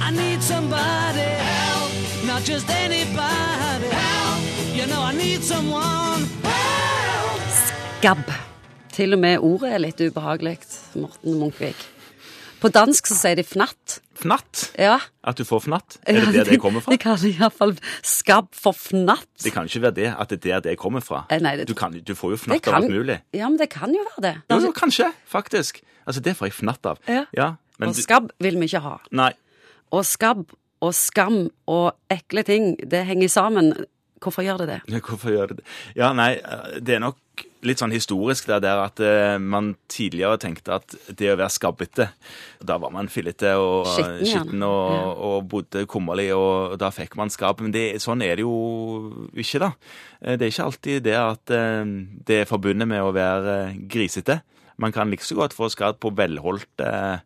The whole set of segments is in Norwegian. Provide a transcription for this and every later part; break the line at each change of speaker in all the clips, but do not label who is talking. I need somebody help, not just anybody help. You know I need someone help.
Gabb. Til og med ordet er litt ubehagelig, Morten Munkvik. På dansk så sier de fnatt.
Fnatt?
Ja.
At du får fnatt? Er det der det kommer fra?
Det kan i hvert fall skabb for fnatt.
Det kan ikke være det at det er der det kommer fra.
Eh, nei, det-
Du, kan, du får jo
Det
fnatt av alt mulig.
Ja, men det kan jo være det. Altså,
Jo, jo, kanskje, faktisk. Altså, det får jeg fnatt av.
Ja.
men
og
du,
skabb vil vi ikke ha.
Nei.
Og skabb og skam og ekle ting, det henger sammen. Hvorfor gjør det det?
Ja, Hvorfor gjør det det? Ja, nei, eh, det er nok litt sånn historisk det der at eh, man tidligere tenkte at det å være skabbete, da var man fillete og
Skitten, ja.
skitten og, og bodde kummerlig, og da fikk man skabb. Men det, sånn er det jo ikke, da. Eh, Det er ikke alltid det at eh, det er forbundet med å være eh, grisete. Man kan like så godt få skabb på velholdt eh,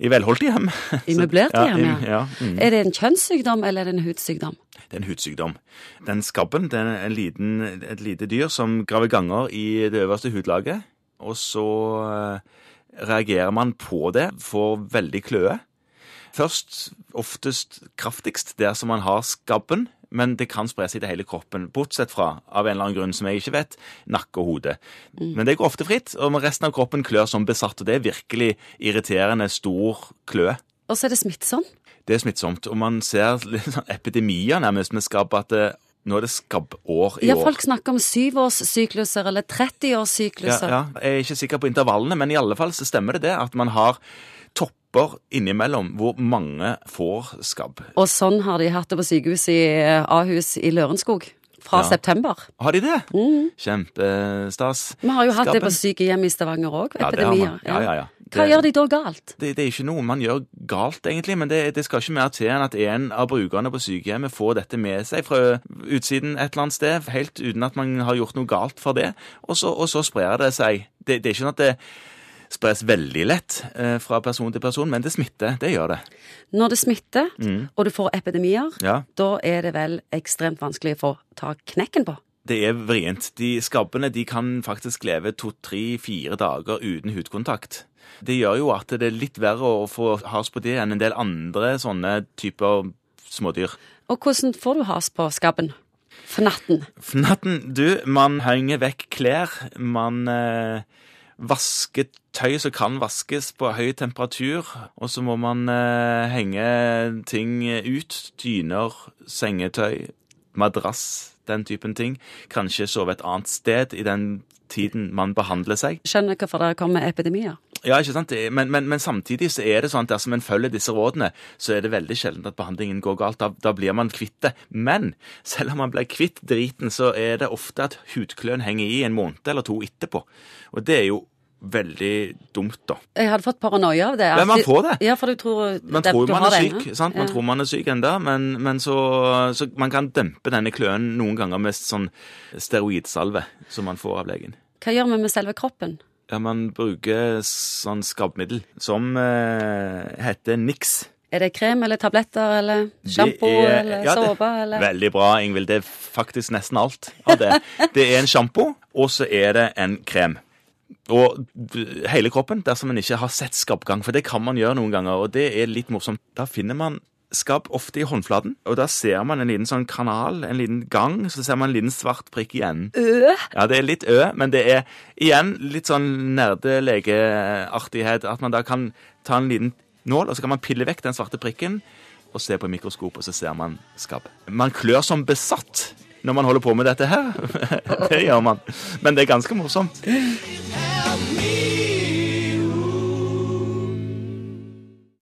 i velholdt hjem.
I møblerte hjem,
ja.
ja.
i- ja. Mm.
Er det en kjønnssykdom eller er det en hudsykdom?
Det er en hudsykdom. Den skabben det er en liten, et lite dyr som graver ganger i det øverste hudlaget. Og så eh, reagerer man på det, får veldig kløe. Først, oftest, kraftigst der som man har skabben, men det kan spre seg til hele kroppen, bortsett fra, av en eller annen grunn som jeg ikke vet, nakke og hode. Men det går ofte fritt, og resten av kroppen klør som besatt, og det er virkelig irriterende stor kløe.
Og så er det smittsomt.
Det er smittsomt, og man ser litt sånn epidemier nærmest med skabb, at det, nå er det skabbår i
Ja,
år.
folk snakker om syvårssykluser eller
ja,
30-årssykluser.
ja. Jeg er ikke sikker på intervallene, men i alle fall så stemmer det det at man har topper innimellom hvor mange får skabb.
Og sånn har de hatt det på sykehuset i eh, Ahus i Lørenskog fra
Ja.
september.
Har de det? Kjempestas.
Mm. Vi har jo hatt det på
Skabben.
sykehjem i Stavanger òg,
Ja, det har
epidemier.
man. Ja, ja, ja.
Hva
Det-
gjør de da galt?
det, det er ikke noe man gjør galt, egentlig, men det, det skal ikke mer til enn at en av brukerne på sykehjemmet får dette med seg fra utsiden et eller annet sted, helt uten at man har gjort noe galt for det, og så, og så sprer det seg. Det, det er ikke sånn at det spres veldig lett eh, fra person til person, men det smitter. Det gjør det.
Når det smitter, og du får epidemier,
Mm. Ja.
da er det vel ekstremt vanskelig å få ta knekken på.
Det er vrient. De skabbene de kan faktisk leve to, tre, fire dager uten hudkontakt. Det gjør jo at det er litt verre å få has på det enn en del andre sånne typer smådyr.
Og hvordan får du has på skabben? Fnatten.
Fnatten, du, man henger vekk klær, man eh, vasker tøy som kan vaskes på høy temperatur, og så må man eh, henge ting ut, dyner, sengetøy, madrass, den typen ting. Kanskje sove et annet sted i den tiden man behandler seg.
Skjønner hvorfor det kommer epidemier.
Ja, ikke sant? Det- Men, men, men samtidig så er det sånn at dersom en følger disse rådene, så er det veldig sjelden at behandlingen går galt. Da, da blir man kvitt det. Men selv om man blir kvitt driten, så er det ofte at hudkløen henger i en måned eller to etterpå. Og det er jo veldig dumt, da.
Jeg hadde fått paranoia av det.
Ja, man
At-
får det.
Ja, for du tror
Man
det-
tror
du
man
har
er
det
syk,
ennå.
sant? Man
Ja.
tror man er syk enda, men, men så, så man kan dempe denne kløen noen ganger med sånn steroidsalve som man får av legen.
Hva gjør vi med selve kroppen?
Ja, man bruker sånn skabbmiddel som eh, heter Nix.
Er det krem eller tabletter eller sjampo
Det er-
eller
ja, det-
såpe eller
Veldig bra, Ingvild. Det er faktisk nesten alt av det. Det er en sjampo, og så er det en krem. Og d- hele kroppen, dersom en ikke har sett skabbgang, for det kan man gjøre noen ganger, og det er litt morsomt. Da finner man skabb ofte i håndflaten, og da ser man en liten sånn kanal, en liten gang, så ser man en liten svart prikk i enden. Ja, det er litt ø, men det er igjen litt sånn nerdelegeartighet. At man da kan ta en liten nål, og så kan man pille vekk den svarte prikken og se på mikroskop, og så ser man skabb. Man klør som besatt når man holder på med dette her. det gjør man. Men det er ganske morsomt.
Help,